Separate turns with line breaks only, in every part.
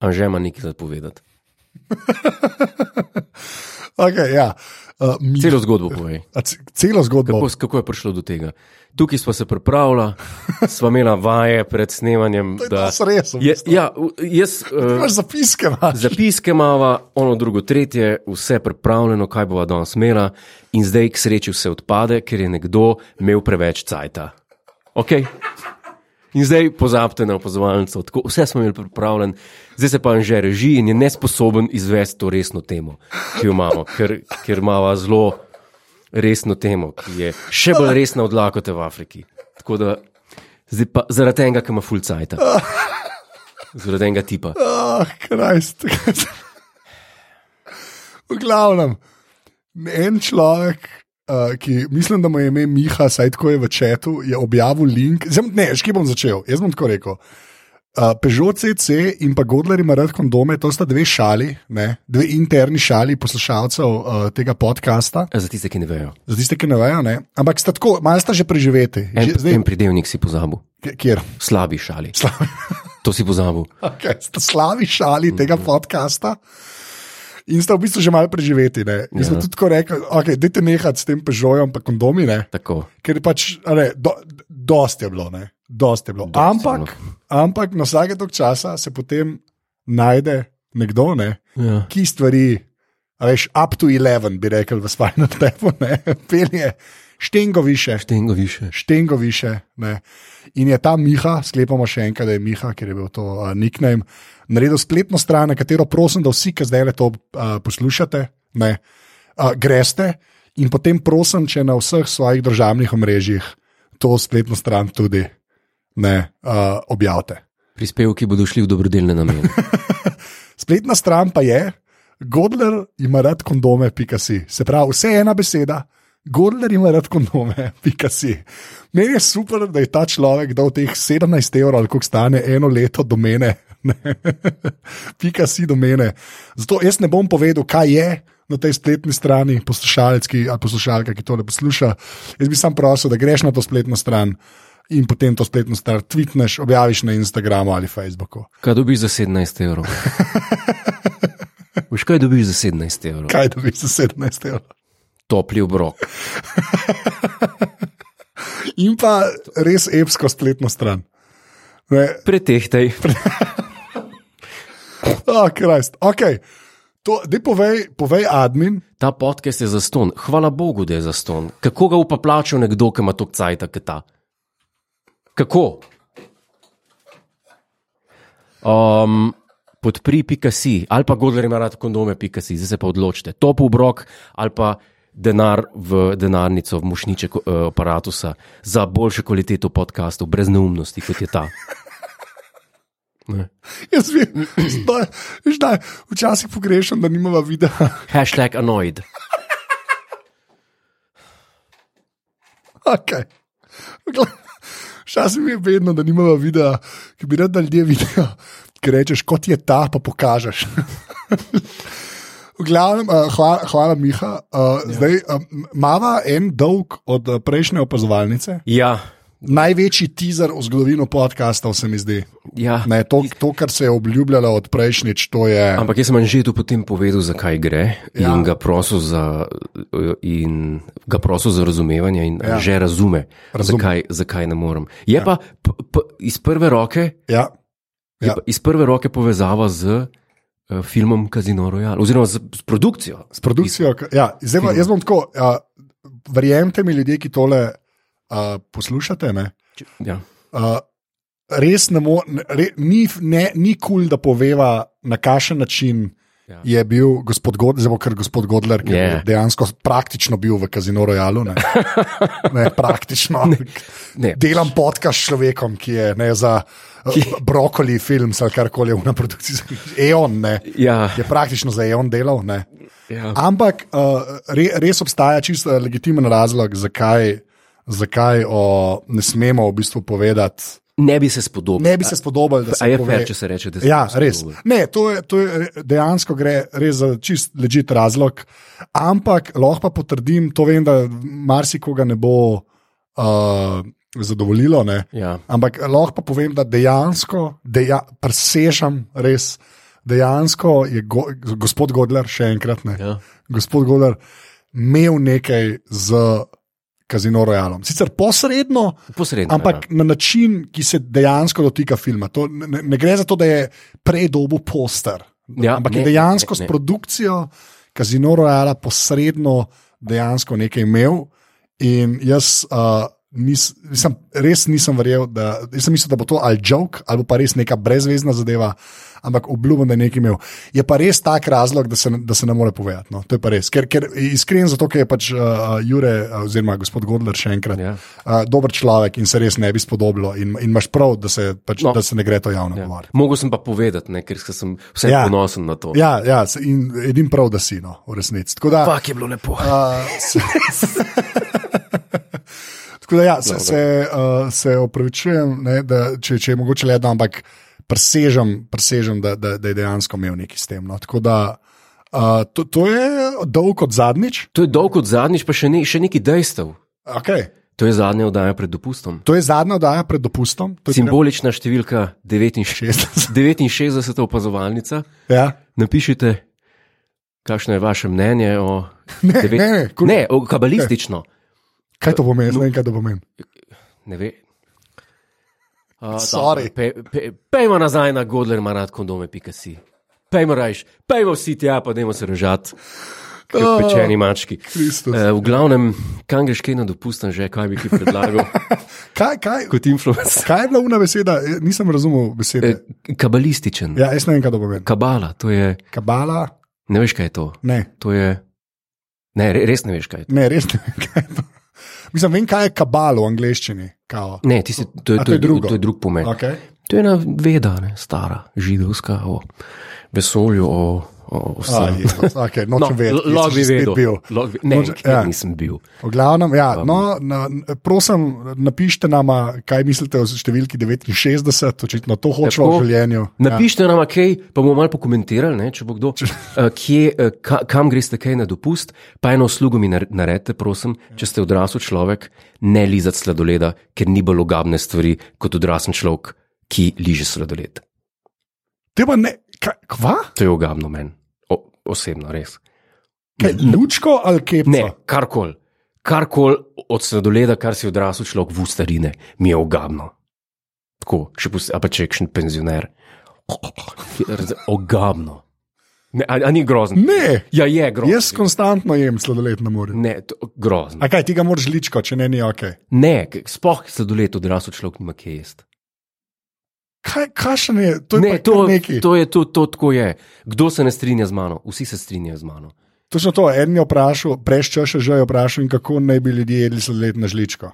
Anže ima nekaj za povedati.
Okay, ja. uh, mi,
Celo zgodbo povej.
a c- celo zgodbo.
Kako, s- kako je prišlo do tega? Tukaj smo se pripravljali, smo imeli vaje pred snemanjem.
To je
Da,
dosti res, v
je,
bistvu.
ja, v- jaz, uh,
Imaš zapiske, imaš.
zapiske imamo, ono drugo, tretje, vse pripravljeno, kaj bova danes imela, in zdaj k sreči vse odpade, ker je nekdo imel preveč cajta. Okay? In zdaj pozabite na opazovalnico, tako vse smo imeli pripravljen, zdaj se pa že reži in je nesposoben izvesti to resno temo, ki jo imamo, ker, ker imamo zelo resno temo, ki je še bolj resna od lakote v Afriki. Tako da zdaj pa zaradi enega, ki ima full cajt. Zaradi enega tipa.
Ah, krajst. v glavnem, en človek, uh, ki mislim, da mu je ime Miha, saj tako je v četu, je objavil link. Zdaj, ne, ški bom začel, jaz bom tako rekel. Uh, Peugeot CC in pa Godler ima rad kondome, to sta dve šali, ne? dve interni šali poslušalcev uh, tega podcasta,
Za tiste, ki ne vejo.
za tiste, ki ne vejo, ne? ampak sta tako, malo sta že preživeti,
En,
že, zdaj,
en pridevnik si pozabil,
kjer.
slabi šali. To si pozabil.
okay, sta slavi šali tega podcasta. In sta v bistvu že malo preživeti. Ne? In smo tudi tako rekli, okay, da te nehati s tem pežojem, pa kondomi, ne?
Tako.
ker pač, a ne, do, dost je bilo, ne? Dost je bilo.
je
ampak, ampak na vsake tok časa se potem najde nekdo, ne?
Ja.
ki stvari, a veš, up to 11, bi rekel v spajnem tepu, ne, pelje, štengo više,
Štengo više.
štengo više. Ne. In je ta Miha, sklepamo še enkrat, da je Miha, ker je bil to uh, nickname, naredil spletno stran, na katero prosim, da vsi, ki zdaj le to uh, poslušate, ne, uh, greste. In potem prosim, če na vseh svojih državnih omrežjih to spletno stran tudi ne, uh, objavite.
Prispevki bodo šli v dobrodelne namene.
Spletna stran pa je, Godler ima rad kondome, pika si. Se pravi, vse ena beseda, Godler ima rad kondome, pika si. Meni je super, da je ta človek dal teh 17 evrov, ali koliko stane eno leto domene, ne, pika si domene. Zato jaz ne bom povedal, kaj je. Na tej spletni strani, poslušalec ki, ali poslušalka, ki tole posluša, jaz bi sam prosil, da greš na to spletno stran in potem to spletno stran tvitneš, objaviš na Instagramu ali Facebooku.
Kaj dobiš za 17 evrov? Veš, kaj dobiš za 17 evrov?
Kaj dobiš za 17 evrov?
Topli obrok.
in pa res evsko spletno stran. Ne,
Pretehtaj.
oh, krajst. Okay. To, dej povej, povej admin,
Ta podcast je za ston. Hvala Bogu, da je za ston. Kako ga upa plačal nekdo, ki ima tok cajt, kot ta? Kako? Um, podpri, pika si, ali pa Godler ima rad kondome, pika si, zdaj se pa odločite. Top obrok ali pa denar v denarnico, v mušniček uh, aparatusa za boljšo kvaliteto podkastov, brez neumnosti, kot je ta. Ne.
jaz vem, zdaj, veš, da včasih pogrešam, da nimava videa.
Hashtag annoyed.
Okay. Včasih mi je vedno, da nimava videa, ki bi rad, da ljudje vidijo, ki rečeš, kot je ta, pa pokažeš. V glavnem, uh, hvala, hvala Miha. Uh, ja. Zdaj, um, mava en dolg od uh, prejšnje opazovalnice.
Ja,
največji teaser v zgodovino podkastov, se mi zdi.
ja.
Ne, to, to, kar se je obljubljalo od prejšnjič, to je.
Ampak jaz sem Anžetu potem povedal, zakaj gre ja. in, ga prosil za, in ga prosil za razumevanje, in ja. že razume,
Razume.
razume. Zakaj, zakaj ne morem. Je ja. pa p, p, iz prve roke.
Ja, Ja.
Ja. Iz prve roke povezava z uh, filmom Casino Royale, oziroma z, z produkcijo.
s produkcijo. k- Ja, zdaj, pa- jaz bom tako. Uh, verjemite mi, ljudje, ki tole uh, poslušate, ne,
Ja.
uh, res ne mo, ne- re, ni f- ne- ni kul, cool, da poveva, na kakšen način.
Ja.
Je bil gospod Godler, zelo ker gospod Godler, ki yeah.
Je.
je dejansko praktično bil v Kazino Royalu. Ne, ne praktično.
Ne,
Delam podcast s človekom, ki je ne, za eh, brokoli film ali karkoli v produkciji. Eon ne.
ja,
Je praktično za Eon delal. Ne.
ja.
Ampak uh, re, res obstaja čisto legitimen razlog, zakaj, zakaj o, ne smemo v bistvu povedati.
Ne bi se spodobil.
Ne bi se spodobili, da
A
se
je
pove-
fair, če se reče, da se
Ja,
spodobil.
res. Ne, to je, to je re- dejansko gre res za čist ležit razlog. Ampak lahko pa potrdim, to vem, da marsikoga ne bo uh, zadovoljilo. Ne?
Ja.
Ampak lahko pa povem, da dejansko deja, presežem res dejansko je go, gospod Godler, še enkrat ne.
Ja.
Gospod Godler imel nekaj z Kazino Royalom. Sicer posredno,
Posredno.
ampak na način, ki se dejansko dotika filma. To, ne, ne gre za to, da je predobu poster,
Ja,
ampak
ne,
je dejansko
ne, ne.
s produkcijo Kazino Royala posredno dejansko nekaj imel. In jaz uh, nis, nisem, res nisem verjel, da, jaz sem mislil, da bo to ali joke ali bo pa res neka brezvezna zadeva. Ampak obljubim, da je nekaj imel. Je pa res tak razlog, da se, ne- da se ne more povedati. No. To je pa res. Ker, ker iskren, zato ker je pač uh, Jure, uh, oziroma gospod Godler, še enkrat,
Ja.
uh, dober človek in se res ne bi spodobilo. In, in imaš prav, da se, pač,
No.
no. da se ne gre to javno ja.
Ja.
govoriti.
Mogel sem pa povedati, ne, ker sem vse ja.
Ja.
ponosen na to.
Ja, ja, se- in edin prav, da si no, v resnici. Tako da,
Pak je bilo lepo.
Uh, se- Tako da, ja, se, se, uh, se opravičujem, ne, da, če, če je mogoče le, da, ampak presežem, presežem da, da, da je dejansko imel nekaj s tem. No. Tako da, uh, to, to je dolg kot zadnjič.
To je dolg kot zadnjič, pa še, ne, še nekaj dejstev.
Okay.
To je zadnja oddaja pred dopustom.
To je zadnja oddaja pred dopustom, to je
Simbolična številka 69,
60.
69 opazovalnica.
Ja.
Napišite, kakšno je vaše mnenje o,
Ne,
devet-
ne, ne, kul.
ne, o kabalistično.
Kaj to pomeni? Jaz Ne vem, kaj to pomeni.
Ne ve. A,
Sorry.
dobro, Pe, pe, pejmo nazaj na Godler, marat kondome, pika si. Pejmo rajš, pejmo vsi tja, pa dajmo se režati.
Ah.
Kot pečeni mački.
Kristus.
Eh, v glavnem, kam greš, kaj ne dopustam, že kaj bi ti predlagal
Kaj, kaj,
kot influencer.
kaj je bila ura beseda? Eh, Nisem razumel besede.
Eh, Kabalističen.
Ja, jaz ne vem, kaj to pomeni.
Kabala, to je,
Kabala?
ne veš, kaj je to.
Ne.
To je, ne, re- res ne veš, kaj je to.
Ne, res ne vem, kaj je to. Mislim, vem, kaj je kabal v angleščini. Kao.
Ne, ti si, to, je,
A,
to, je, drugo.
drugo?
to je drug pomen.
Okay.
To je ena veda, ne, stara židovska, o vesolju, o, o
Ah,
vsem.
Jezus, okay,
No,
nočem vedeti, kje
lahko
sem
bi
že spet
vedel.
Bil.
Lahko bi- Ne,
Noč-
nikjer
ja.
nisem bil.
V glavnem, ja, no, na, na- prosim, napišite nam, kaj mislite o številki 69, očitno to hočemo
Tako.
v življenju. Ja.
Napišite nam, kaj, pa bomo malo pokomentirali, ne, če bo kdo, eh, kje, eh, ka, kam greste, kaj na dopust. Pa eno uslugo mi nar- naredite, prosim, če ste odrasel človek, ne lizati sladoleda, ker ni bolj ogabne stvari kot odrasel človek, ki liže sladoled.
Te pa ne, kaj, kva?
To je ogabno meni, O- osebno, res.
Kaj, lučko ali kepca?
Ne, karkoli. Karkoli od sladoleda, kar si odrasel človek v starine, mi je ogabno. Tako, še posebej, a pa če je kakšen penzioner. Ogabno. Ne, a, a ni grozno.
ne.
Ja, je grozno.
Jaz konstantno jem sladoled na morju.
Ne, to, grozno.
A kaj ti ga moraš ličko, če ne, ni ok.
Ne, k- sploh sladoled odrasel človek nima kje jesti.
Kaj, kašen je, to je
Ne,
pa to,
to,
nekaj.
to je to, to tako je. Kdo se ne strinja z mano? Vsi se strinjajo z mano.
Točno to, en je vprašal, preščeš že je vprašal, in kako naj bi ljudje jedli sladoled na žličko.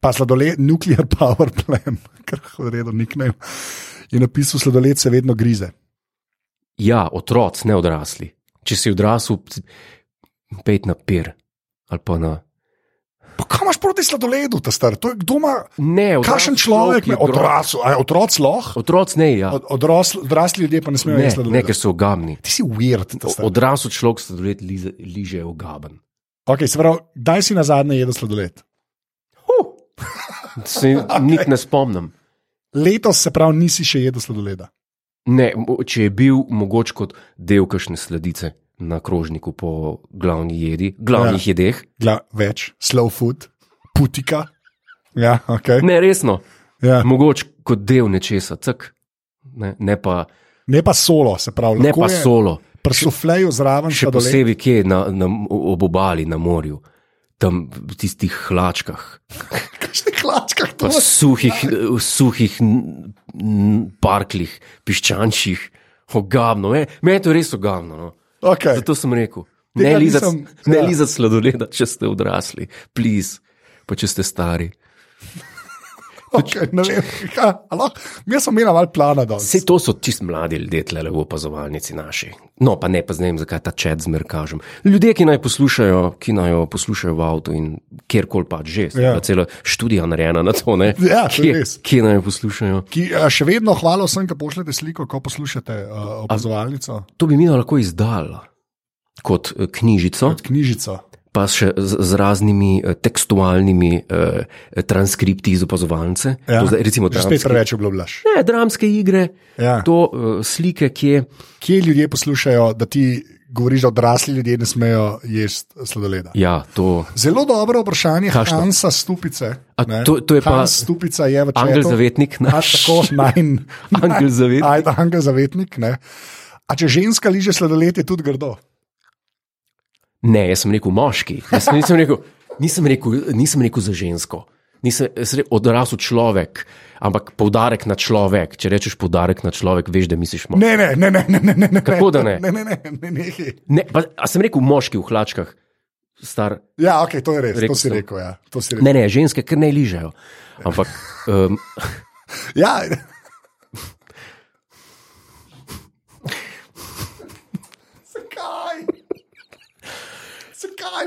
Pa sladoled, nuclear power plan, kar horedo niknem. Je napisal, sladoled se vedno grize.
Ja, otroci, ne odrasli. Če si odrasel, pet na pir ali pa na
Pa kaj imaš proti sladoledu, ta star? To je kdo ima,
Ne, odrasel
kakšen človek
je
je
gro-
odrasel, a je otroc lahko?
Otroci ne, ja.
Od- odrasl- Odrasli ljudje pa ne smejo
Ne,
jesti
ne, ker
sladoleda.
so ogabni.
Ti si weird, ta star.
Odrasel človek sladoled lize- liže je ogaben.
Ok, se pravi, kdaj si na zadnje jedel sladoled?
Se niti ne spomnim.
Letos se pravi, nisi še jedel sladoleda.
Ne, mo- če je bil mogoč kot del kakšne sledice na krožniku po glavni jedi, glavnih ja. jedeh.
Gla, več, slow food, putika. Ja, ok.
Ne, resno,
Ja.
mogoč kot del nečesa, cek. Ne, ne pa,
Ne pa solo, se pravi,
ne
lahko
pa
je
solo,
Pri sufleju zraven
še
še posebej.
posebej kje na, na, ob obali, na morju, tam v tistih hlačkah.
Kakšne hlačke,
Pa
to
v suhih, v suhih n- n- parkljih, piščančjih, ogabno. Me, me je to res ogabno. No.
okay.
Zato sem rekel, ne
Tega
lizati
nisem-
ja.
ja.
lizat sladoleda, če ste odrasli, pliz, pa če ste stari.
okay, ne vem. Ja, a lahko- Mi smo imeli malo plana danes.
Vse to so čist mladi ljudje, tle v opazovalnici naši. No, pa ne, pa ne vem, zakaj ta čet zmer kažem. Ljudje, ki naj poslušajo, ki naj jo poslušajo v avtu in kjerkoli pač že,
Ja.
ja. cela študija narejena na to, ne?
Ja, to je
kje,
res.
kje naj jo poslušajo.
Ki, eh, še vedno hvala vsem, ki pošljete sliko, ko poslušate uh, opazovalnico,
To bi mi lahko izdala kot eh, knjižico,
knjižico.
pa še z, z raznimi eh, tekstualnimi eh, transkripti iz opazovalnice.
Ja.
To zdaj, recimo,
Že spet
dramske,
preveč obljublaš.
ne, dramske igre,
Ja.
to eh, slike, ki je.
Kje ljudje poslušajo, da ti govoriš, da odrasli ljudje ne smejo jesti sladoleda?
Ja, to.
Zelo dobro vprašanje,
Kakšno?
Hansa Stupice.
A
ne.
to- to je pa
Hans Stupica je v čem?
Angel zavetnik naš.
Tako najmanj.
Angel zavetnik.
Ajde, angel zavetnik. Ne. A če ženska liže sladoled, je tudi grdo.
Ne, jaz sem rekel moški. Jaz sem- nisem, rekel, nisem, rekel, nisem rekel za žensko. Nisem jaz sem rekel odrasel človek, ampak poudarek na človek. Če rečeš poudarek na človek, veš, da misliš moški.
Ne, ne, ne, ne, ne, ne, ne, ne.
Kako da ne?
Ne, ne, ne, ne, ne.
Ne, pa, a sem rekel moški v hlačkah, star.
Ja, ok, to je res.
Rekel
to si
sem.
rekel, ja. To si rekel.
Ne, ne, ženske, ker ne ližejo. Ampak um,
Ja, zakaj? Zakaj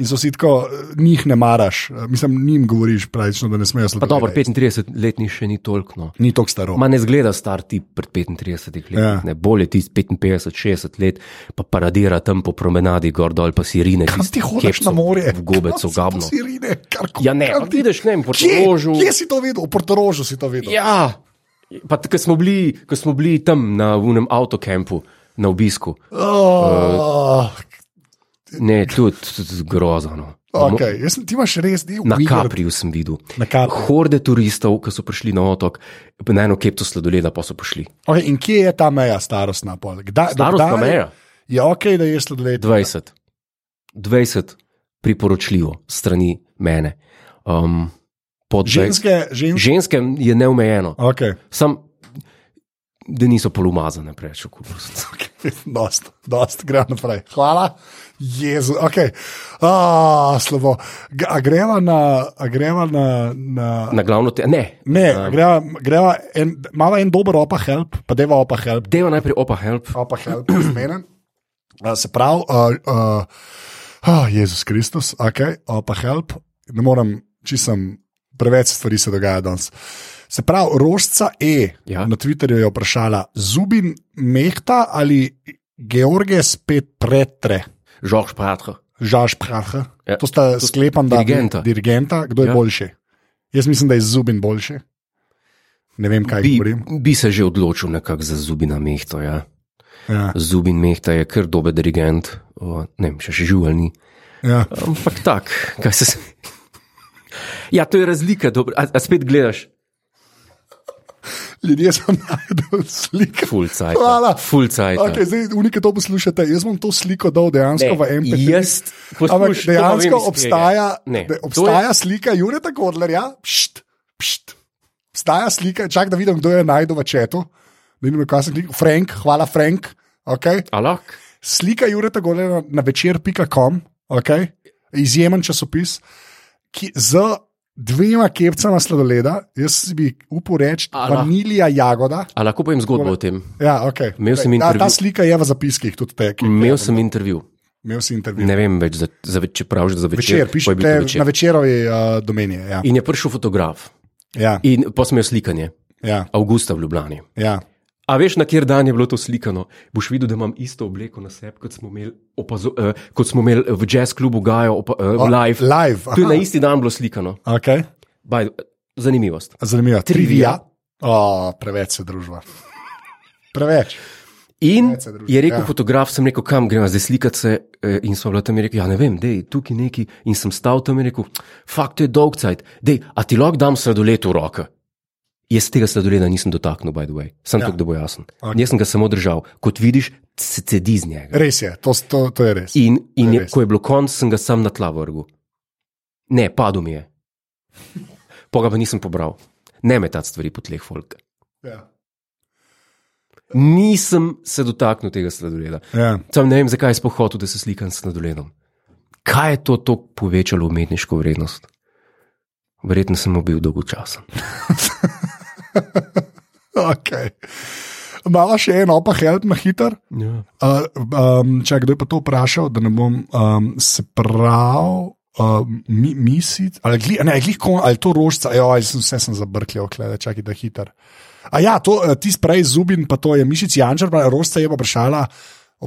In so si tako, eh, njih ne maraš, Eh, mislim, njim govoriš praktično, da ne smejo
pa
slediti.
dobro, 35 let ni še ni toliko. no.
Ni tako staro.
Ma ne zgleda star ti pred 35 leti,
Ja.
ja. ne bolje ti 55-60 let, pa paradira tam po promenadi gor dol, pa si rine.
Kam ti hodiš na morje?
V gobec,
Kam
v gabno.
Si rine, karkoli.
Ja, ne, pa vidiš, ne vem, po
Kje,
rožu.
kje si to videl? V Portorožu si to videl.
Ja, pa ko smo, bili- ko smo bili tam na unem avtokampu, na obisku, Eh,
Oh,
ne, tudi, tudi grozano.
okay. Jaz sem- Ti imaš res del
no. Na Kapriju sem videl.
Na Kapriju.
Horde turistov, ki so prišli na otok, na eno kepto sladoleda, pa so prišli.
Okay, in kje je ta meja starostna? pol? Kdaj, do
Starostna
kdaj
meja?
Je ok, da je sladoled.
20. 20 priporočljivo strani mene. Um, pod dvajset-
Ženske, ženske.
ženske je neomejeno,
Okay.
sam da niso polumazane preveč. v kupus.
Dost, dost, gre naprej. Hvala, Jezu, ok. Ah, slabo. G- A greva na. A greva na, na
Na glavno te, ne,
ne, a greva, greva en, malo en dober opa help, pa deva opa help.
deva najprej opa help.
Opa help, zmenen. A, Se pravi, uh, uh, oh, Jezus Kristus, ok, opa help. Ne morem, če sem. Preveč stvari se dogaja danes. Se pravi, rožca E
Ja.
na Twitterju je vprašala, Zubin Mehta ali George spet pretre.
Žorž Pratro.
Žaž Praha.
Ja.
Ja. To sta sklepam, da
Dirigenta.
dirigenta, kdo je ja.
Ja.
boljši. Jaz mislim, da je Zubin boljši. Ne vem, kaj
Bi,
govorim.
bi se že odločil nekako za Zubina Mehta. Ja.
Ja,
Zubin Mehta je kar dober dirigent, o, ne vem, še, še živelni.
ja.
Ampak tak, kaj se. Ja, to je razlika, dobro. a, a spet gledaš,
Ljudje so najdel slike.
full cajt. ja.
Hvala.
Full cajt. ja.
Okay, zdaj, unike to poslušate, jaz bom to sliko dal dejansko v MP.
Jaz, posluš,
Ampak
to pa vem iz
dejansko
tega.
obstaja,
Ne,
de,
to
obstaja je... slika Jureta Godlerja, pšt, pšt. Obstaja slika, čak da vidim, kdo je najdel v četu. Ne vem, kaj sem klikal. Frank, hvala Frank. Okay.
A lahko?
slika Jureta Golena na večer.com, okay? izjemen časopis, ki z dvema kepcama sladoleda, jaz si bi upal reči,
Ala.
vanilija jagoda.
A lahko povem zgodbo o tem?
Ja, okay.
Imel sem
ta, ta
intervju-
slika je v zapiskih, tudi te, ki
Imel sem intervju,
imel si intervju.
ne vem več, za, za več, če praviš, za večer. ko je
Večer,
bil
pišete
to
večer. na večerovi uh, domeni. Ja.
In je prišel fotograf
Ja,
in posmejal slikanje,
ja,
avgusta v Ljubljani.
ja.
A veš, na kjer dan je bilo to slikano? Boš videl, da imam isto obleko na sebi, kot smo imeli, opazo, eh, kot smo imeli v jazz klubu Gajo opa, eh,
O,
live.
live
To je na
aha,
isti dan bilo slikano.
okay.
By, the- zanimivost.
Zanimivo.
Trivia.
Trivia. O, preveč se družba. Preveč.
In
Več se druži,
je rekel
ja.
ja. fotograf, sem rekel, kam gremo zdaj slikati se. eh, In so bila tam in rekel, ja ne vem, dej, tukaj neki. In sem stal tam in rekel, fakt, to je dolg cajt, dej, a ti lahko dam sladoled v roke. Jaz tega sladoleda nisem dotaknil, by the way, sem
Ja.
ja. tako, da bo jasen.
Ok.
Okay. Jaz sem ga samo držal, kot vidiš, se cedi z njega.
Res je, to, to, to je res.
In, in
To je
je,
res.
ko je bilo konc, sem ga sam na tla vrgel. Ne, padel mi je. Poga pa nisem pobral. Ne metati stvari po tleh, folk.
Ja.
Nisem se dotaknil tega sladoleda.
Ja.
Sam ne vem, zakaj je sploh hotel, da se slikam s sladoledom. Kaj je to tako povečalo umetniško vrednost? Verjetno sem mu bil dolgočasen.
Okay. Mala še eno, pa help me hiter.
Ja.
Uh, um, če kdo je pa to vprašal, da ne bom um, se prav. Uh, mi, misit, ali, gli, ne, glih, kon, ali to rožca, jo, ali sem, vse sem zabrkljal, klede, čakaj, da hiter. A ja, to, eh, ti sprej zubin, pa to je Mišic Jančar, pa rožca je pa vprašala,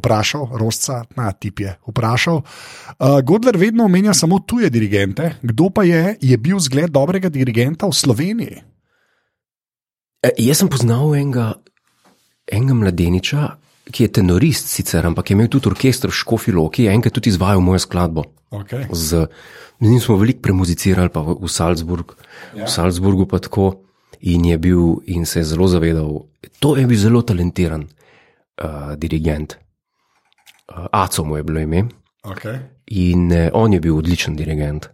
vprašal, rožca, na tip je, vprašal. Uh, Godler vedno omenja samo tuje dirigente, kdo pa je, je bil zgled dobrega dirigenta v Sloveniji.
E, jaz sem poznal enega, enega mladeniča, ki je tenorist sicer, ampak je imel tudi orkester v Škofi Loki, enkrat tudi izvajal mojo skladbo.
Okay.
Z, z njim smo veliko premuzicirali, pa v, v, Salzburg, ja. v Salzburgu pa tako. In je bil in se je zelo zavedal, to je bil zelo talentiran uh, dirigent. Uh, Aco mu je bilo ime
Okay.
in uh, on je bil odličen dirigent.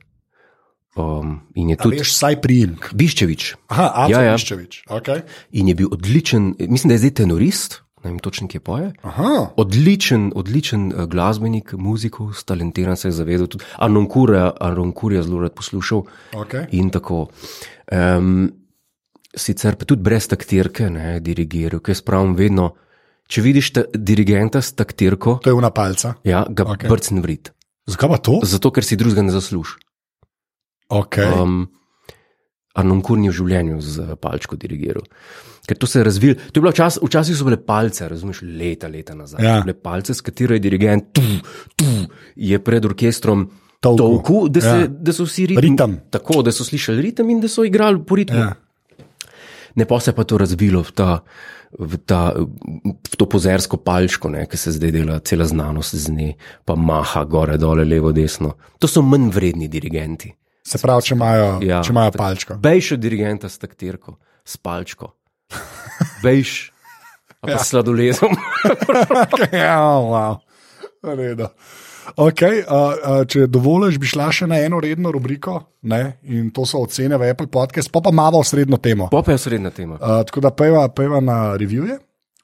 Um, in je tudi
Veš, saj priimk.
Biščevič.
Aha,
Ja, ja.
Anton Miščevič. Okay.
In je bil odličen, mislim, da je zdaj tenorist, ne vem točno, kje poje.
Aha.
Odličen, odličen eh, glasbenik, muzikov, talentiran se je zavedal. tudi Arnonkurja Arnonkurja zelo rad poslušal
Okay.
in tako. Um, sicer pa tudi brez taktirke, ne dirigiral, ker jaz pravim vedno, če vidiš ta, dirigenta s taktirko,
To je una palca.
ja, ga
Okej.
okay. brcni vrit.
Zakaj pa to?
Zato, ker si drugega ne zaslužiš.
Okay.
Um, Arnonkur ni v življenju z eh, palčko dirigiral. Ker to se je razvil, to je bilo včas, včasih so bile palce, razumeš, leta, leta nazaj.
Ja.
So Bile palce, s katero je dirigent, tu, tu, je pred orkestrom
Tolkel.
tolku, da, se, ja.
Ja.
da so vsi ritem,
Ritem.
Tako, da so slišali ritem in da so igrali po ritmu.
Ja.
Ja. Ne pa se je pa to razvilo v, ta, v, ta, v to pozersko palčko, ne, ki se zdaj dela cela znanost z nje, pa maha gore, dole, levo, desno. To so manj vredni dirigenti.
Se pravi, če imajo, ja,
Ja.
če imajo palčko.
Bejš od dirigenta s taktirko, s palčko. Bejš, a pa ja. sladolezom.
ja, wow. Redo. Okay, uh, uh, če dovoliš, bi šla še na eno redno rubriko, ne? in to so ocene v Apple podcast, pa pa imamo osrednjo temo.
Pop je osrednja tema.
Uh, tako da peva, peva na revije,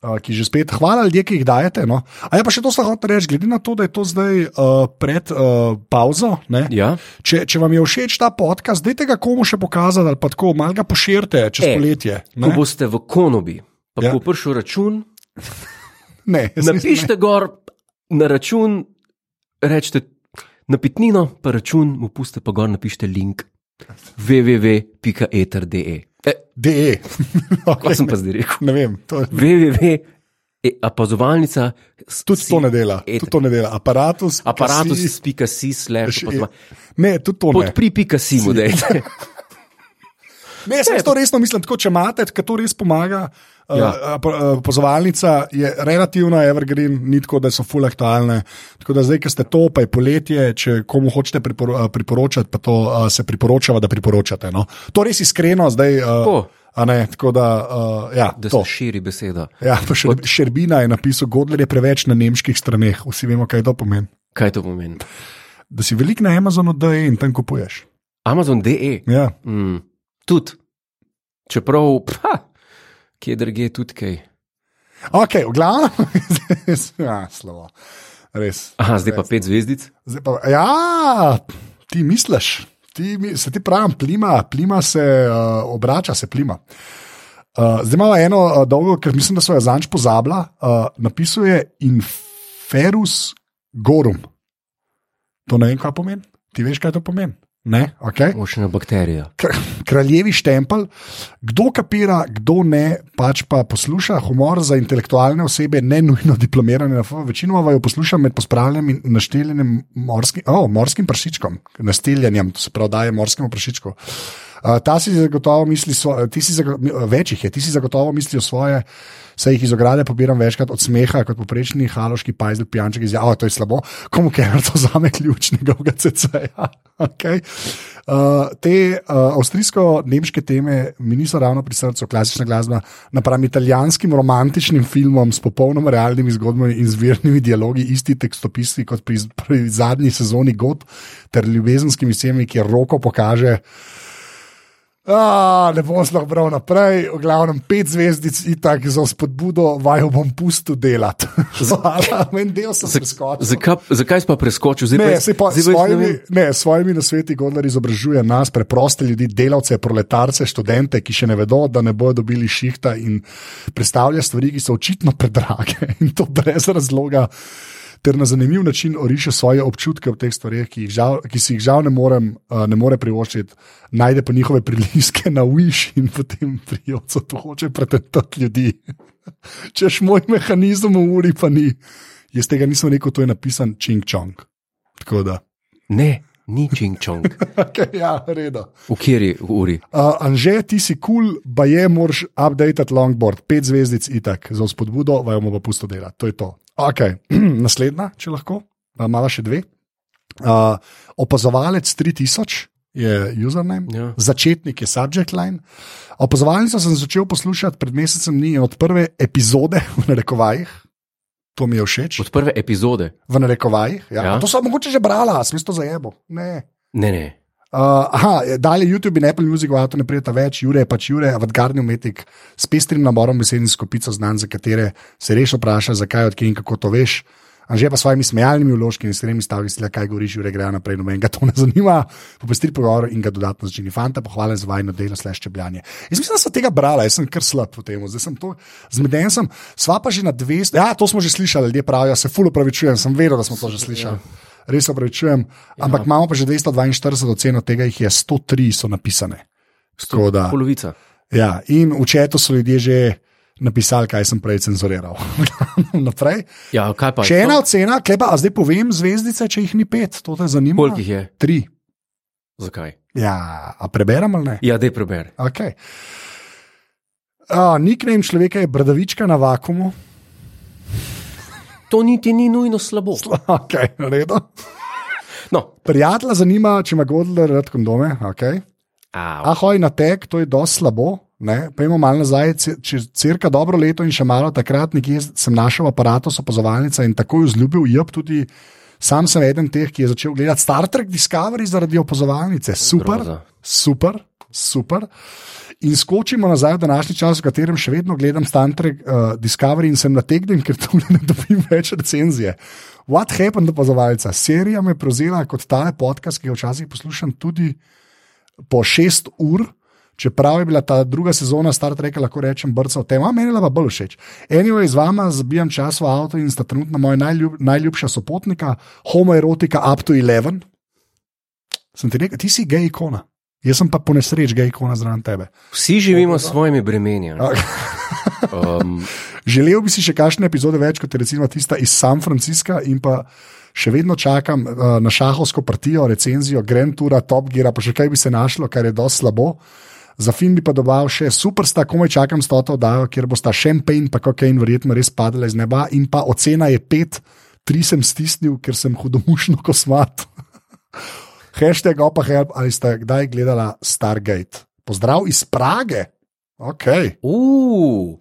uh, ki že spet hvala ljudje, ki jih dajete. No. A ja, pa še to sem hotel reči, glede na to, da je to zdaj uh, pred uh, pauzo. Ne,
Ja.
Če, če vam je všeč ta podcast, dajte ga komu še pokazati, ali pa tako malo ga poširite čez e,
E,
poletje.
Ko
Ne, bo...
boste v konobi, pa ja.
Ja.
bo prišel račun,
ne, jaz mislim,
napišite gor na račun, rečete napitnino, pa račun mu puste, pa gor napišite link www.eter.de. E,
DE.
kaj
okay,
sem pa zdaj rekel?
ne vem, to,
www. E, apazovalnica. s-
tudi
si- E,
to ne dela.
eter.
Tudi to ne dela. Aparatus. kasi-
Aparatus.si slash
še- e.
opazova-
Ne, tudi to ne.
Podpri.si mu dajte.
Ne, jaz res to resno mislim, tako če imate, ker to res pomaga. Ja.
Ja.
Uh, Pozovalnica je relativno evergreen, ni tako, da so full aktualne. Tako da zdaj, ki ste to, pa je poletje, če komu hočete pripor eh, priporočati, pa to uh, se priporočava, da priporočate. No. To res iskreno zdaj. Uh,
Tako.
a ne, tako da, uh, ja,
Da
to.
se širi beseda.
Ja, pa še, Šerbina je napisal, Godler je preveč na nemških straneh. Vsi vemo, kaj to pomeni.
Kaj to pomeni?
Da si velik na Amazonu, da je in tam kupuješ.
Amazon.de.
Ja.
Mm. Tudi. Čeprav, pa, kje drugje tudi kaj.
Ok, v glavnem, ja, slovo. Res.
Aha, zdaj pa pet zvezdic.
Zdaj Pa, ja, ti misliš, ti, mi- se ti pravim, plima, plima se uh, obrača, se plima. Uh, zdaj imamo eno uh, dolgo, ker mislim, da so jo zanč pozabila. Uh, napisal je Inferus Gorum. To ne vem, kaj pomeni. Ti veš, kaj to pomeni? Ne, okay.
Močna bakterija.
Kr- kraljevi štempelj, kdo kapira, kdo ne, pač pa posluša humor za intelektualne osebe, ne nujno diplomirane na FO. Večinoma pa jo poslušam med pospravljanjem in našteljanjem morskim, oh, morskim pršičkom, našteljanjem, to se pravi, daje morskemu pršičku. Uh, ta si zagotovo misli, svo, ti si zago, mi- več jih je, ti si zagotovo mislijo svoje, saj jih iz ograde pobiram večkrat od smeha, kot poprečni haloški pajzel pijanček iz Java, to je slabo, komu ker to zame ključnega GCC-ja. Okay. Uh, te uh, avstrijsko-nemške teme mi niso ravno pri srcu, klasična glasba, napram italijanskim romantičnim filmom s popolnoma realnimi zgodbami in zvirnimi dialogi, isti tekstopisi kot pri, z- pri zadnji sezoni God, ter ljubezenskimi semami, kjer roko pokaže A, ne bom zelo bral naprej, v glavnem pet zvezdic, itak za spodbudo, vaju bom pustu delati. Hvala, en del sem se skočil.
Zakaj, zakaj si pa preskočil? Zdaj,
Ne,
jaz-
saj pa s
zdaj pa jaz ne
svojimi,
vem.
ne, s svojimi nasveti Gondar izobražuje nas, preproste ljudi, delavce, proletarce, študente, ki še ne vedo, da ne bodo dobili šihta in predstavlja stvari, ki so očitno predrage in to brez razloga. Ter na zanimiv način oriše svoje občutke v teh stvareh, ki, jih žal, ki si jih žal ne, morem, eh, ne more privoščiti, najde pa njihove priliske na Wish in potem prijavca to hoče pretentati ljudi. Češ moj mehanizem v uri, pa ni. Jaz tega nisem rekel, to je napisan Ching Chong. Tako da.
Ne, ni čing čong.
Okay, ja, redo.
V kateri uri?
Uh, Anže, ti si kul, cool, pa je moraš updated longboard, pet zvezdic itak, za spodbudo, vajo bomo pa pusto delati. To je to. Okay. Naslednja, če lahko, uh, mala še dve. Uh, opazovalec 3000 je username,
Ja.
začetnik je subject line. Opazovalnico sem začel poslušati pred mesecem dni in od prve epizode v narekovajih. To mi je všeč,
Od prve epizode.
v narekovajih. Ja.
Ja.
Ja. To sem mogoče že brala, smisel za jebo. Ne.
Ne, ne.
Uh, aha, dalje YouTube in Apple Music, avto ne prijeta več, Jure je pač Jure, avantgardni umetnik s pestrim naborom besed in skupico znanj, za katere se reš vpraša, zakaj, odkje in kako to veš. Anže pa s svojimi smejalnimi vložki in stremi stavki, stila, kaj govoriš, Jure, gre naprej, noben ga to ne zanima. Popestri pogovor in ga dodatno začini fanta, pohvalen za vajno delo, slash čebljanje. Jaz mislim, da sem tega brala, jaz sem kar slab v tem, zdaj sem to zmeden, sem, sva pa že na 200, ja, to smo že slišali, ljudje pravijo, se fulo pravičujem, sem vedel, da smo to že slišali. Ja res se opravičujem. Ampak ja. imamo pa že 242 ocen, od tega jih je 103 so napisane. Tako da,
Polovica.
ja. In v četu so ljudje že napisali, kaj sem prej cenzuriral. Naprej.
Ja, kaj pa?
Še ena ocena, klepa, a zdaj povem zvezdice, če jih ni pet, to te zanima.
Koliko jih je?
Tri.
Zakaj?
Ja, a preberem ali ne?
Ja, dej preber.
Okay. Uh, Niknem človeka je bradavička na vakumu.
To niti ni nujno slabo.
Okay,
No.
Prijatelja zanima, če ima Godler rad kondome. Okay.
A,
Ahoj, na tek, to je dosti slabo. Ne? Pejmo malo nazaj, ce- čez cirka dobro leto in še malo takrat, nekje sem našel aparatus opazovalnice in tako jo zljubil. Jep, tudi sam sem eden teh, ki je začel gledati Star Trek Discovery zaradi opazovalnice. Super,
Groza.
super, super. In skočimo nazaj v današnji čas, v katerem še vedno gledam Star Trek uh, Discovery in sem nategnen, ker tu ne dobim več recenzije. What happened opazovalca? Serija me je prevzela kot tale podcast, ki ga včasih poslušam tudi po šest ur. Čeprav je bila ta druga sezona Star Treka, lahko rečem, brca v tem, a meni je bila pa bolj všeč. Eno je z vama, zabijam čas v avtu in sta trenutno moja najljub, najljubša sopotnika, homoerotika up to 11. Sem ti rekel, ti si gej ikona. Jaz sem pa po nesreč gej ikona zraven tebe.
vsi živimo s svojimi bremeni. a ne. Um,
Želel bi si še kakšne epizode več, kot je recimo tista iz San Francisca in pa še vedno čakam uh, na šahovsko partijo, recenzijo, Grand Tour, Top Gear, pa še kaj bi se našlo, kar je dosti slabo. Za film bi pa dobal še supersta, komaj čakam s to oddajo, kjer bosta šampanj, pa kokain verjetno res padla iz neba in pa ocena je pet, tri sem stisnil, ker sem hudomušno kosmat. Hashtag opa help, ali ste kdaj gledala Stargate? Pozdrav iz Prage. Okay.
uh,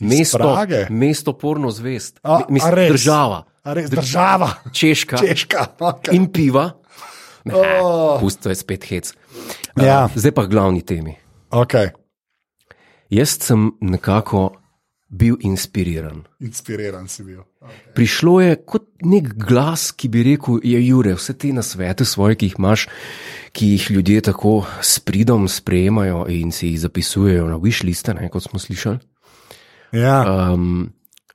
mesto,
Prage?
mesto porno zvest,
A-
Mi- mislim,
a res?
država,
A Res, država,
češka
češka. Okay.
in piva. Ne,
Oh.
Pusto je spet hec.
Ja.
Uh, zdaj pa k glavni temi.
Okay.
Jaz sem nekako bil inspiriran.
Inspiriran si bil. Okay.
Prišlo je kot nek glas, ki bi rekel: Je Jure, vse te nasvete svoje, ki jih imaš, ki jih ljudje tako s pridom sprejemajo in si jih zapisujejo na višliste, kot smo slišali.
Ja,
Um,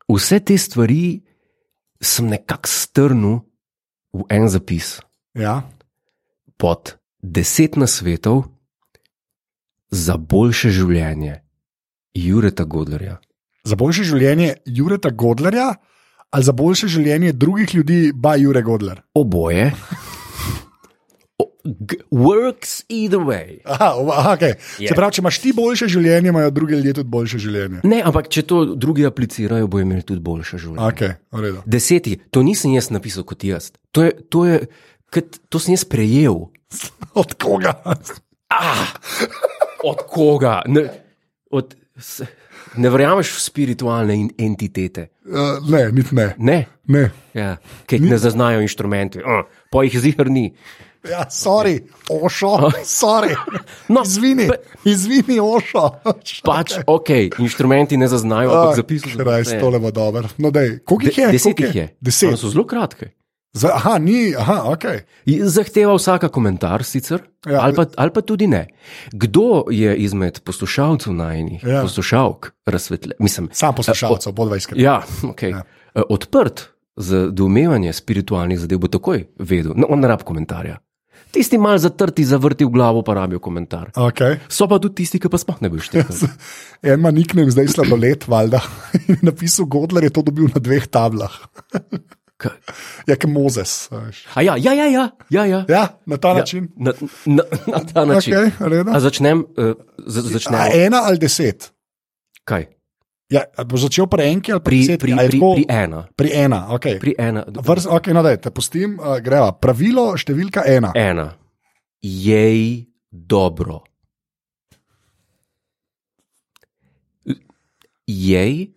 vse te stvari sem nekako strnil v en zapis
ja.
pod deset nasvetov za boljše življenje Jureta Godlerja.
Za boljše življenje Jureta Godlerja ali za boljše življenje drugih ljudi, pa Jure Godler.
Oboje. O, g- Works either way.
Aha, oba- okay.
Je. Mm.
yeah. Se pravi, če imaš ti boljše življenje, imajo drugi ljudje tudi boljše življenje.
Ne, ampak če to drugi aplicirajo, bo imeli tudi boljše življenje.
Okay, v redu.
Deset je, to nisem jaz napisal kot jaz. To, je, to, je, kot, to sem jaz prejel.
Od koga? Eh,
Od koga? Ne, od, s- ne verjameš v spiritualne in, entitete.
Uh, ne, niti ne.
Ne,
ne.
ja, ki jih ne zaznajo inštrumenti, uh, po jih zihar ni.
Ja, sorry, ošo, sorry.
No,
No, izvini,
pa-
izvini, ošo.
Pač, ok, inštrumenti ne zaznajo, ampak zapisal sem
Raj,
vse.
tole bo dober. No, dej, koliko Ah, jih je?
Deset
Koliko
jih je. One
Deset.
So zelo kratke.
Za, aha, ni, aha, ok.
In Zahteva vsaka komentar, sicer, ja,
Ja.
ali, pa, ali pa tudi ne. Kdo je izmed poslušalcev najnih, ja.
Ja.
poslušalk, razsvetljen? Mislim,
Sam poslušalcev, bodva iskrena.
ja, okay. ja.
Ja.
Odprt za domevanje spiritualnih zadev bo takoj vedel, no, on ne rab komentarja. Tisti mal zatrti, zavrti v glavo, pa rabijo komentar.
Okay.
So pa tudi tisti, ki pa sploh ne boš tega.
En ima niknem, zdaj sladolet, valjda. In je napisal Godler je to dobil na dveh tablah. Ja, kot Mozes. a veš.
Ja, ja, ja, ja, ja, ja.
Ja, na ta
Ja,
ja. način.
Na, na, na ta način.
Okay,
Okay.
a,
Začnem, uh, začnem.
a e, ena ali deset?
Kaj?
Ja, a bo začel pri enki ali pri
Pri,
desetki?
pri,
A je
pri,
tako?
pri ena.
pri ena. Okay.
Pri ena.
Vrst, ok, no, daj, te pustim, uh, greva. Pravilo številka ena.
ena. Jej dobro. Jej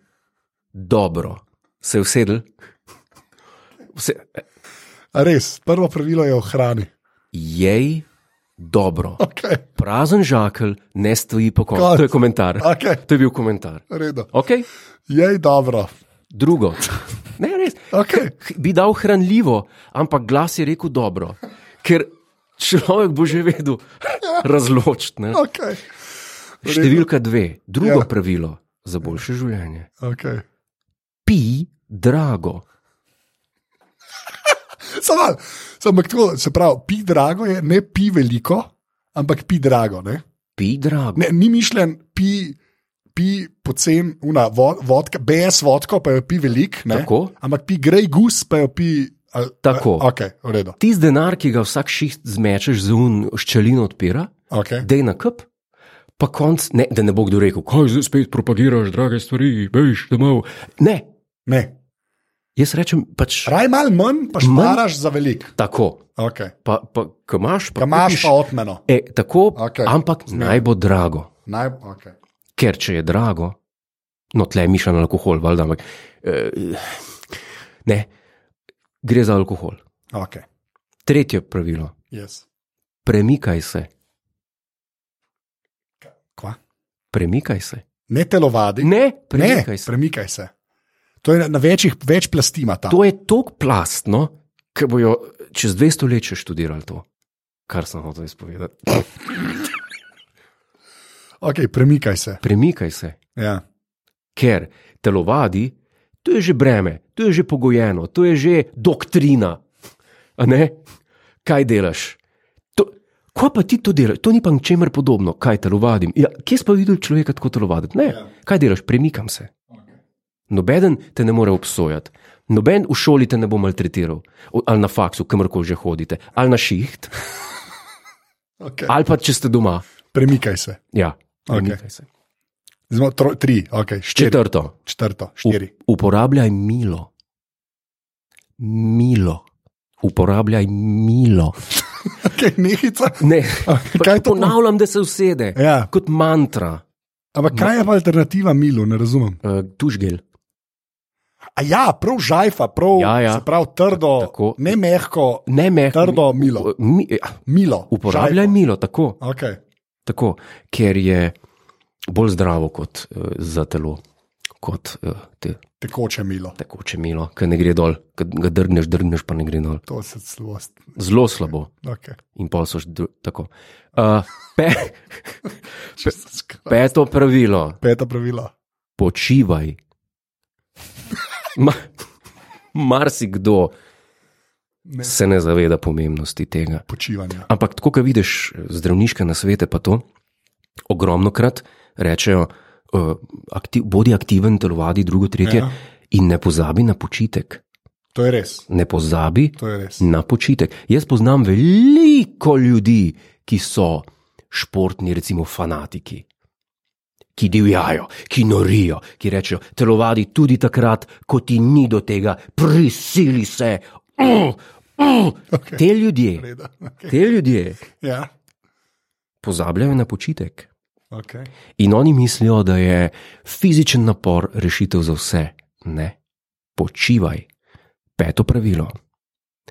dobro. Se je usedel? Vse,
A Res, prvo pravilo je o hrani.
jej dobro.
Okay,
Prazen žakelj ne stoji po koncu.
Konec.
To je komentar.
okay,
To je bil komentar.
redo.
Okay?
Jej, dobro.
Drugo. Ne, res.
Okay.
H- Bi dal hranljivo, ampak glas je rekel dobro. Ker človek bo že vedel razločiti. ne.
Okay.
Številka dve, drugo Torej, ja.
Ja.
pravilo za boljše življenje.
Okay.
Pi drago.
Samo, samo tako, se pravi, pi drago je, ne pi veliko, ampak pi drago. Ne?
Pi drago.
Ne, ni mišljen pi, pi pocen, una, vo, vodka, BS vodko, pa jo pi velik. Ne?
Tako.
Ampak pi grej gus, pa jo pi. A,
Tako.
A, okay, v redu.
Ti z denar, ki ga vsak šiht zmečeš z un ščelino odpira,
Okay.
dej na kup, pa konc, ne, da ne bo kdo rekel, kaj zdaj spet propagiraš, drage stvari, bež domov. Ne,
Ne.
jaz rečem pač
Raj malo manj, pa šmaraš za velik.
tako.
Okay.
Pa, pa, ko imaš, pa
Kamaš
kupiš-
pa otmeno.
E, tako, okay.
Okej.
ampak naj bo drago.
Naj, okay.
Ker če je drago, no, tle je mišljen alkohol, valjda, ampak eh, ne, gre za alkohol.
Okay.
Tretje pravilo:
Yes.
premikaj se,
Kva?
premikaj se.
Ne telovadi.
Ne,
ne,
premikaj ne, se.
premikaj se. To je na- na večjih, več plasti ima ta.
To je tako plastno, ki bojo čez 200 let še študirali to, kar sem hotel izpovedati.
Okay, premikaj se.
Premikaj se,
Ja.
ker telovadi, to je že breme, to je že pogojeno, to je že doktrina. A ne? Kaj delaš? To, ko pa ti to delaš, to ni pa ničemer podobno, kaj telovadim. Ja, kje si pa videl človeka tako telovaditi? Ne,
Ja.
kaj delaš, premikam se. Nobeden te ne more obsojati, noben v šoli te ne bo maltretiral, O- ali na faksu, kamorkoli že hodite, ali na šiht,
Okay.
ali pa če ste doma.
Premikaj se.
Ja,
Okej.
premikaj se.
Zelo, tro, tri, okay, štiri,
Četrto,
četrto, štiri.
uporabljaj milo. Milo. Uporabljaj milo.
Okay, nehica.
Ne,
Okay,
pač
kaj je to? pom-
ponavljam, da se usede.
Ja.
Kot mantra,
Ampak kaj je pa alternativa milu, ne razumem.
uh, tužgel.
A ja, prav žajfa, prav,
Ja, ja.
se pravi trdo,
Tako.
ne mehko,
Ne mehko.
Trdo milo.
U- Mi, ja,
milo.
uporabljaj
žajfo.
milo, tako,
Okay.
tako, ker je bolj zdravo kot uh, za telo, kot uh, te,
Tekoče milo.
tekoče milo, ki ne gre dol, ki ga drgneš, drgneš, pa ne gre dol.
To se zlost.
Zelo slabo.
Okay.
In pol so že dru- tako. Uh, pe, peto pravilo.
Peto pravilo.
počivaj. Ma, marsikdo
Ne.
se ne zaveda pomembnosti tega.
Počivanja.
Ampak, tako kot vidiš zdravniške nasvete, pa to ogromno krat rečejo, uh, aktiv, bodi aktiven, telovadi, drugo, tretje, ja.
Ja.
in ne pozabi na počitek.
To je res.
Ne pozabi
To je res.
na počitek. Jaz poznam veliko ljudi, ki so športni, recimo fanatiki, ki divjajo, ki norijo, ki rečejo: telovadi tudi takrat, ko ti ni do tega, prisili se. Uh, uh.
Okay.
Te ljudje,
Reda. Okay.
te ljudje
Ja.
pozabljajo na počitek.
Okay.
In oni mislijo, da je fizičen napor rešitev za vse. Ne, počivaj. Peto pravilo.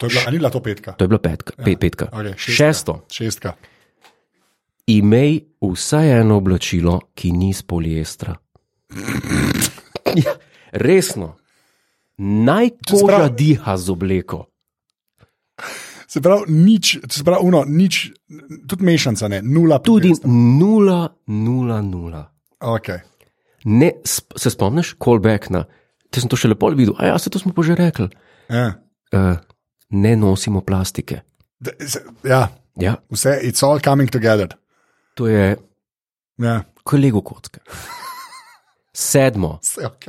To je bila, ali je bila to petka?
To je bila petka. Ja. petka.
Okay, šestka.
Šesto.
Šestka.
Imej vsaj eno oblačilo, ki ni iz poliestra. Ja, resno. Naj koža
pravi-
diha z obleko.
Se pravi, nič, se pravi, uno, nič, tudi mešanca ne, nula.
Tudi
protesta.
0,00.
Okay.
Ne, sp se spomniš, callback na. Te sem to še lepo videl, a ja, se to smo pa že rekli.
Ja.
Uh, ne nosimo plastike.
Da, se- ja,
Ja,
vse, it's all coming together.
to je
Ja,
kolego kocke. Sedmo,
vse ok.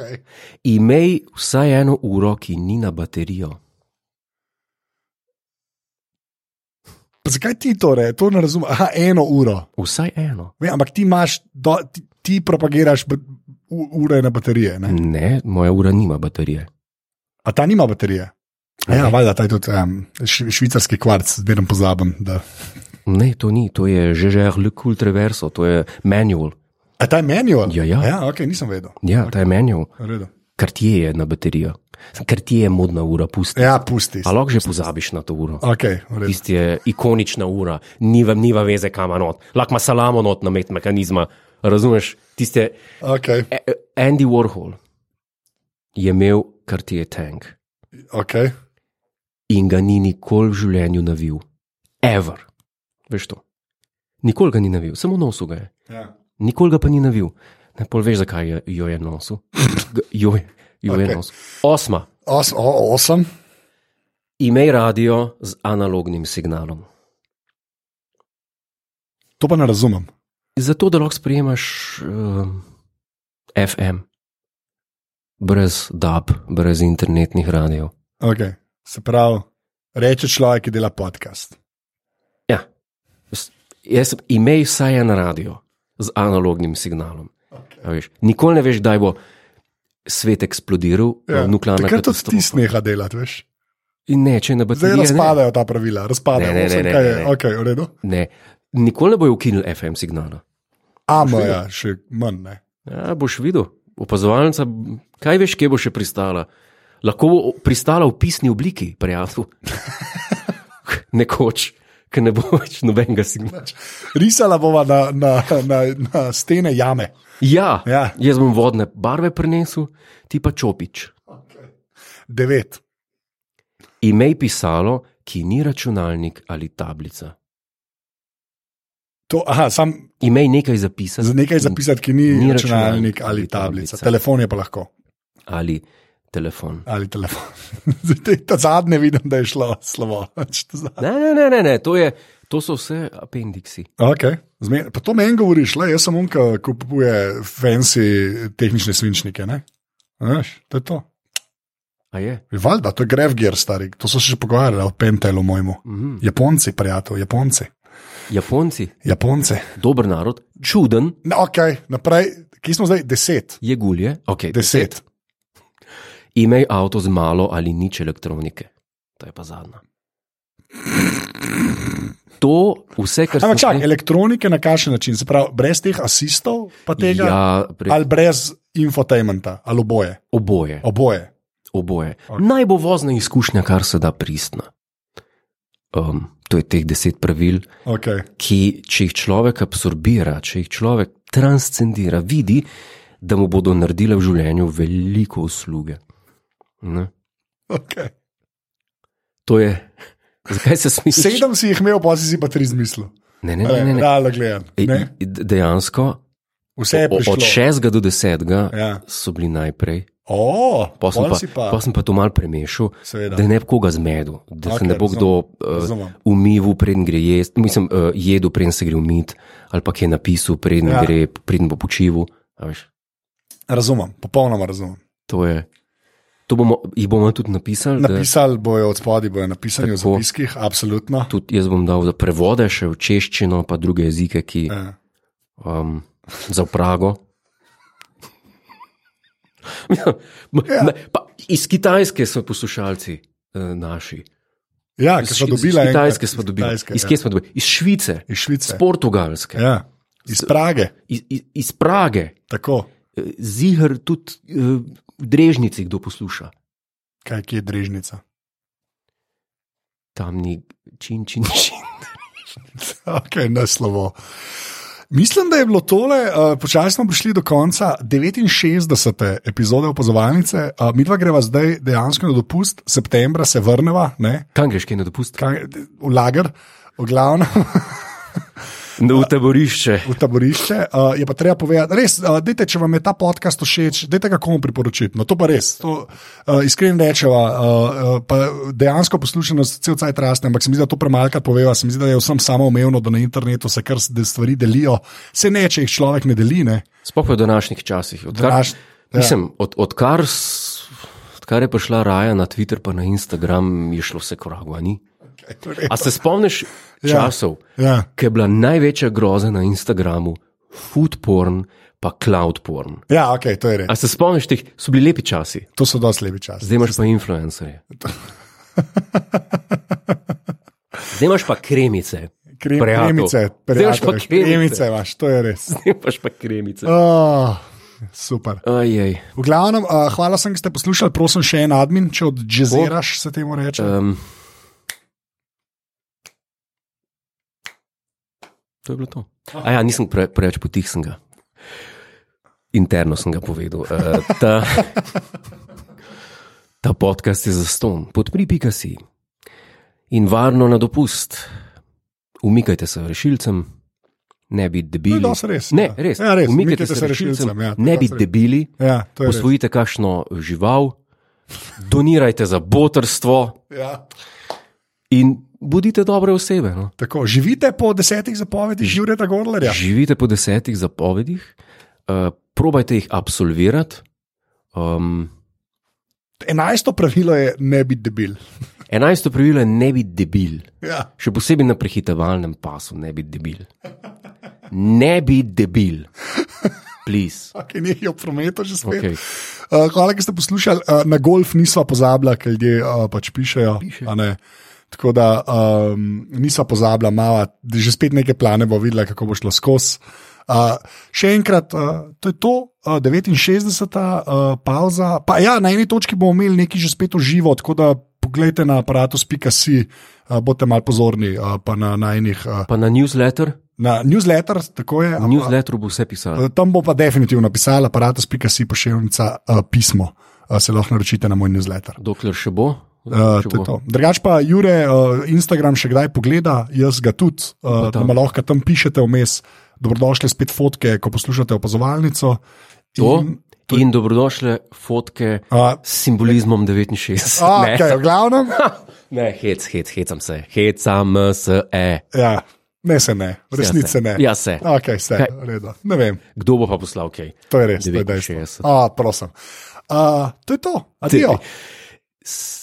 imej vsaj eno uro, ki ni na baterijo.
Pa zakaj ti to re, to ne razumem? Aha, eno uro.
Vsaj eno.
Ve, ampak ti imaš, do, ti, ti propagiraš b- u- ure na baterije. Ne?
Ne, moja ura nima baterije.
A ta nima baterije. A Ja, valjda, ta je tudi um, švicarski kvarc, zmerno pozabim. Da.
Ne, to ni, to je že že le kul traverso, to je manual.
A ta je manual?
Ja, ja.
ja ok, nisem vedel.
Ja, ta je manual,
V redu.
kar ti je na baterijo. Kar ti je modna ura, pusti.
Ja, pusti.
Pa lahko že pozabiš na to uro.
Okay, v redu.
Tisti je ikonična ura, ni vam niva veze, kam ima not. Lahko ima salamo not na met mehanizma. Razumeš, tiste
okay,
E- e- Andy Warhol je imel kar ti je tank
okay.
in ga ni nikoli v življenju navil. Ever. Veš to. Nikoli ga ni navil, samo nosil ga je.
Ja.
Nikoli ga pa ni navil. Ne pol veš, zakaj je, jo je nosil. G- Jo je, jo okay. je
Okej.
nosil. Osma.
Os, o, osem.
Imej radio z analognim signalom.
To pa ne razumem.
Zato, da lahko sprejemaš uh, FM, brez DAB, brez internetnih radijev.
Okay. Se pravi, reče človek, ki dela podcast.
Ja, S- jaz sem- imej vsaj en radio z analognim signalom.
Ja.
A veš, Nikoli ne veš, kdaj bo svet eksplodiral, ja. nuklearna
Takrat tudi
katastrofa.
stisne neha delati, veš.
In ne, če ne bo
Zdaj razpadajo ta pravila, razpadajo.
Ne, ne, ne,
Osem,
ne,
kaj
ne,
je?
ne.
Okej, v redu.
Ne, nikoli ne bojo ukinili FM signala.
Amo, ja, še manj. Ne.
Ja, boš videl, opazovalnica, m, kaj veš, kje bo še pristala. Lahko bo o- pristala v pisni obliki, prijatelj. Nekoč, ker ne bo več nobenega signala.
Risala bova na, na, na, na stene jame.
Ja,
Ja.
jaz bom vodne barve prenesel, ti pa čopič.
Devet.
Imej pisalo, ki ni računalnik ali tablica.
To, aha, sam
Imej nekaj zapisati.
za nekaj zapisati, ki ni,
Ni
ni
računalnik
računalnik
ali
ali tablica.
tablica.
Telefon je pa lahko.
Ali telefon.
Ali telefon. Zdaj, ta zadnje vidim, da je šlo slovo. Pač to zadnje.
Ne, ne, ne, ne, ne. To, je, to so vse apendiksi.
Okay. Zmer, pa to meni govoriš, le jaz sem unka, ki kupuje fancy tehnične svinčnike. ne? A Veš, to je to. E,
A je?
Valjda, to je Grevgear, stari. To so se že pogovarjali o Pentelu, mojemu.
Mhm.
Japonci, prijatelj, Japonci.
Japonci,
Japonci.
dober narod, čuden
No, ok, naprej, ki smo zdaj deset.
je gulje. Okay,
Deset.
Imej avto z malo ali nič elektronike. To je pa zadnja. To vse, kar
Ampak
sem
čakaj, elektronike na kakšen način, se pravi, brez teh asistov, pa tega, ja,
Ja, pre...
ali brez infotainmenta, ali oboje.
Oboje.
Oboje.
oboje. Naj bo vozna izkušnja, kar se da pristna. Um, to je teh deset pravil,
Okay.
ki, če jih človek absorbira, če jih človek transcendira, vidi, da mu bodo naredile v življenju veliko usluge. Ne?
Okay.
To je. Zakaj se smisliš?
Sedem si jih imel, pa si si pa tri zmislil.
Ne, ne, ne. ne, ne.
Realno gledam.
E,
ne.
Dejansko,
Vse je
o- od
prišlo.
6 do 10
Ja.
so bili najprej,
O,
pa sem
pol
pa,
si
pa. pa sem pa to mal premešal,
Seveda.
da ne eh, bi koga zmedel, da okay, se
Okej,
ne bo
razumem,
kdo uh,
razumem.
umil, preden gre jesti, mislim, uh, jedel, preden se gre umit, ali pa je napisal, preden ja.
Ja.
gre, preden bo počival. a veš.
Razumem, popolnoma razumem.
To je. To bomo, jih bomo tudi napisali. da
Napisali bojo od spodaj, bojo napisali
Tako.
v zapiskih, absolutno.
Tudi jaz bom dal za prevode še v češčino, pa druge jezike, ki
Ja.
um, za Prago. Ja, ma- ne, pa iz Kitajske so poslušalci eh, naši.
Ja,
Iz,
ki so
Švi- iz
dobila
Kitajske smo dobili. Iz, kje
ja.
smo dobili? iz Švice,
iz
iz
Švice.
Portugalske, ja.
Ja. Iz Prage,
iz, iz, iz Prage.
tako.
Eh, Zihr tudi eh, v Drežnici, kdo posluša.
Kaj kje je drežnica?
tam ni čin, čin, čin.
Okay, ne slovo. Mislim, da je bilo tole, uh, počasi smo prišli do konca 69. epizode opazovalnice, uh, mi dva greva zdaj dejansko na dopust, septembra se vrneva, ne,
Kam greš, kaj ne dopusti?
Kaj, v lager, v glavno,
V taborišče.
v taborišče. Uh, je pa treba povedati, res, uh, dejte, če vam je ta podcast všeč, dajte ga komu priporočiti. No, to pa res, to uh, iskreno rečeva. Uh, uh, pa dejansko poslušanost cel cajt raste, ampak se mi zdi, da to premalka poveva. Se mi zdi, da je vsem samoumevno, da na internetu se kar s- da stvari delijo. Se ne, če jih človek ne deli. Ne?
Sploh v današnjih časih. Odkar,
Današ- ja.
mislim, od, odkar, s- odkar je prišla raja na Twitter, pa na Instagram, je šlo vse koragu. a ni? A se spomniš časov,
Ja.
ki je bila največja groza na Instagramu, food porn, pa cloud porn?
Ja, ok, to je res.
A se spomniš teh, so bili lepi časi,
To so dosti lepi časi.
zdaj imaš pa influencerje. Zdaj imaš pa kremice.
Krem,
prijatelj.
kremice,
Zdaj imaš pa
prijatelj,
kremice.
kremice imaš, to je res.
Zdaj imaš pa kremice.
Oh, super.
Ajaj.
V glavnem, uh, hvala sem, da ste poslušali, prosim, še en admin, če odžezeraš, se temu reče.
Um, to je bilo to. A ja, nisem pre, preveč potih, sem ga. Interno sem ga povedal. Uh, ta, ta podcast je zaston, podpri pika si in varno na dopust. Umikajte se rešilcem, ne bi
To je
debili.
dosti res,
ne,
ja.
res.
Ja, res,
Umikajte se rešilcem,
ja, to je
ne bi
dosti res.
debili.
Ja, to je res.
Posvojite kakšno žival, donirajte za botrstvo
Ja.
in bodite dobre osebe. No.
Tako, živite po desetih zapovedih Žureta Gorlerja.
Živite po desetih zapovedih, uh, probajte jih absolvirati. Um,
Enajsto pravilo je ne biti debil.
enajsto pravilo je ne biti debil,
Ja.
še posebej na prehitevalnem pasu, ne biti debil. Ne biti debil, please.
Okay, ni jo prometo že spet.
Okay.
Okay. Uh, hvala, da ste poslušali. Uh, na golf nismo pozabili, ker ljudje uh, pač pišejo.
Piše.
a ne. Tako da um, nismo pozabili, mava, že spet neke plane bo videla, kako bo šlo skozi. Uh, še enkrat, uh, to je to, uh, 69. Uh, pauza. Pa ja, na eni točki bomo imeli nekaj že spet v živo, tako da pogledajte na aparatus.si, uh, bodite malo pozorni, uh, pa na, na enih. Uh,
Pa na newsletter,
na newsletter, tako je.
v
ampak-
newsletteru bo vse pisalo.
Eh, Tam bo pa definitivno pisala aparatus.si pošiljnica uh, pismo, uh, se lahko naročite na moj newsletter.
Dokler še bo. dokler
Uh,
še
to je
bo.
to. Drugač pa Jure, uh, Instagram še kdaj pogleda, jaz ga tudi, uh,
Pa
da
tam.
me lahko tam pišete vmes. Dobrodošli spet fotke, ko poslušate opazovalnico.
To
In,
in dobrodošle fotke
uh,
s simbolizmom 69.
a,
ne,
kaj, v glavnem?
ne, hec, hec, hecam se, hecam se. E.
Ja, ne se ne,
Ja,
v resnici
se.
ne.
Ja, se.
Okay, se
Kaj?
redo. Ne vem,
Kdo bo pa poslal kaj?
to je res, to je
69.
dejstvo. A, prosim. Uh, to je to, adijo.
S-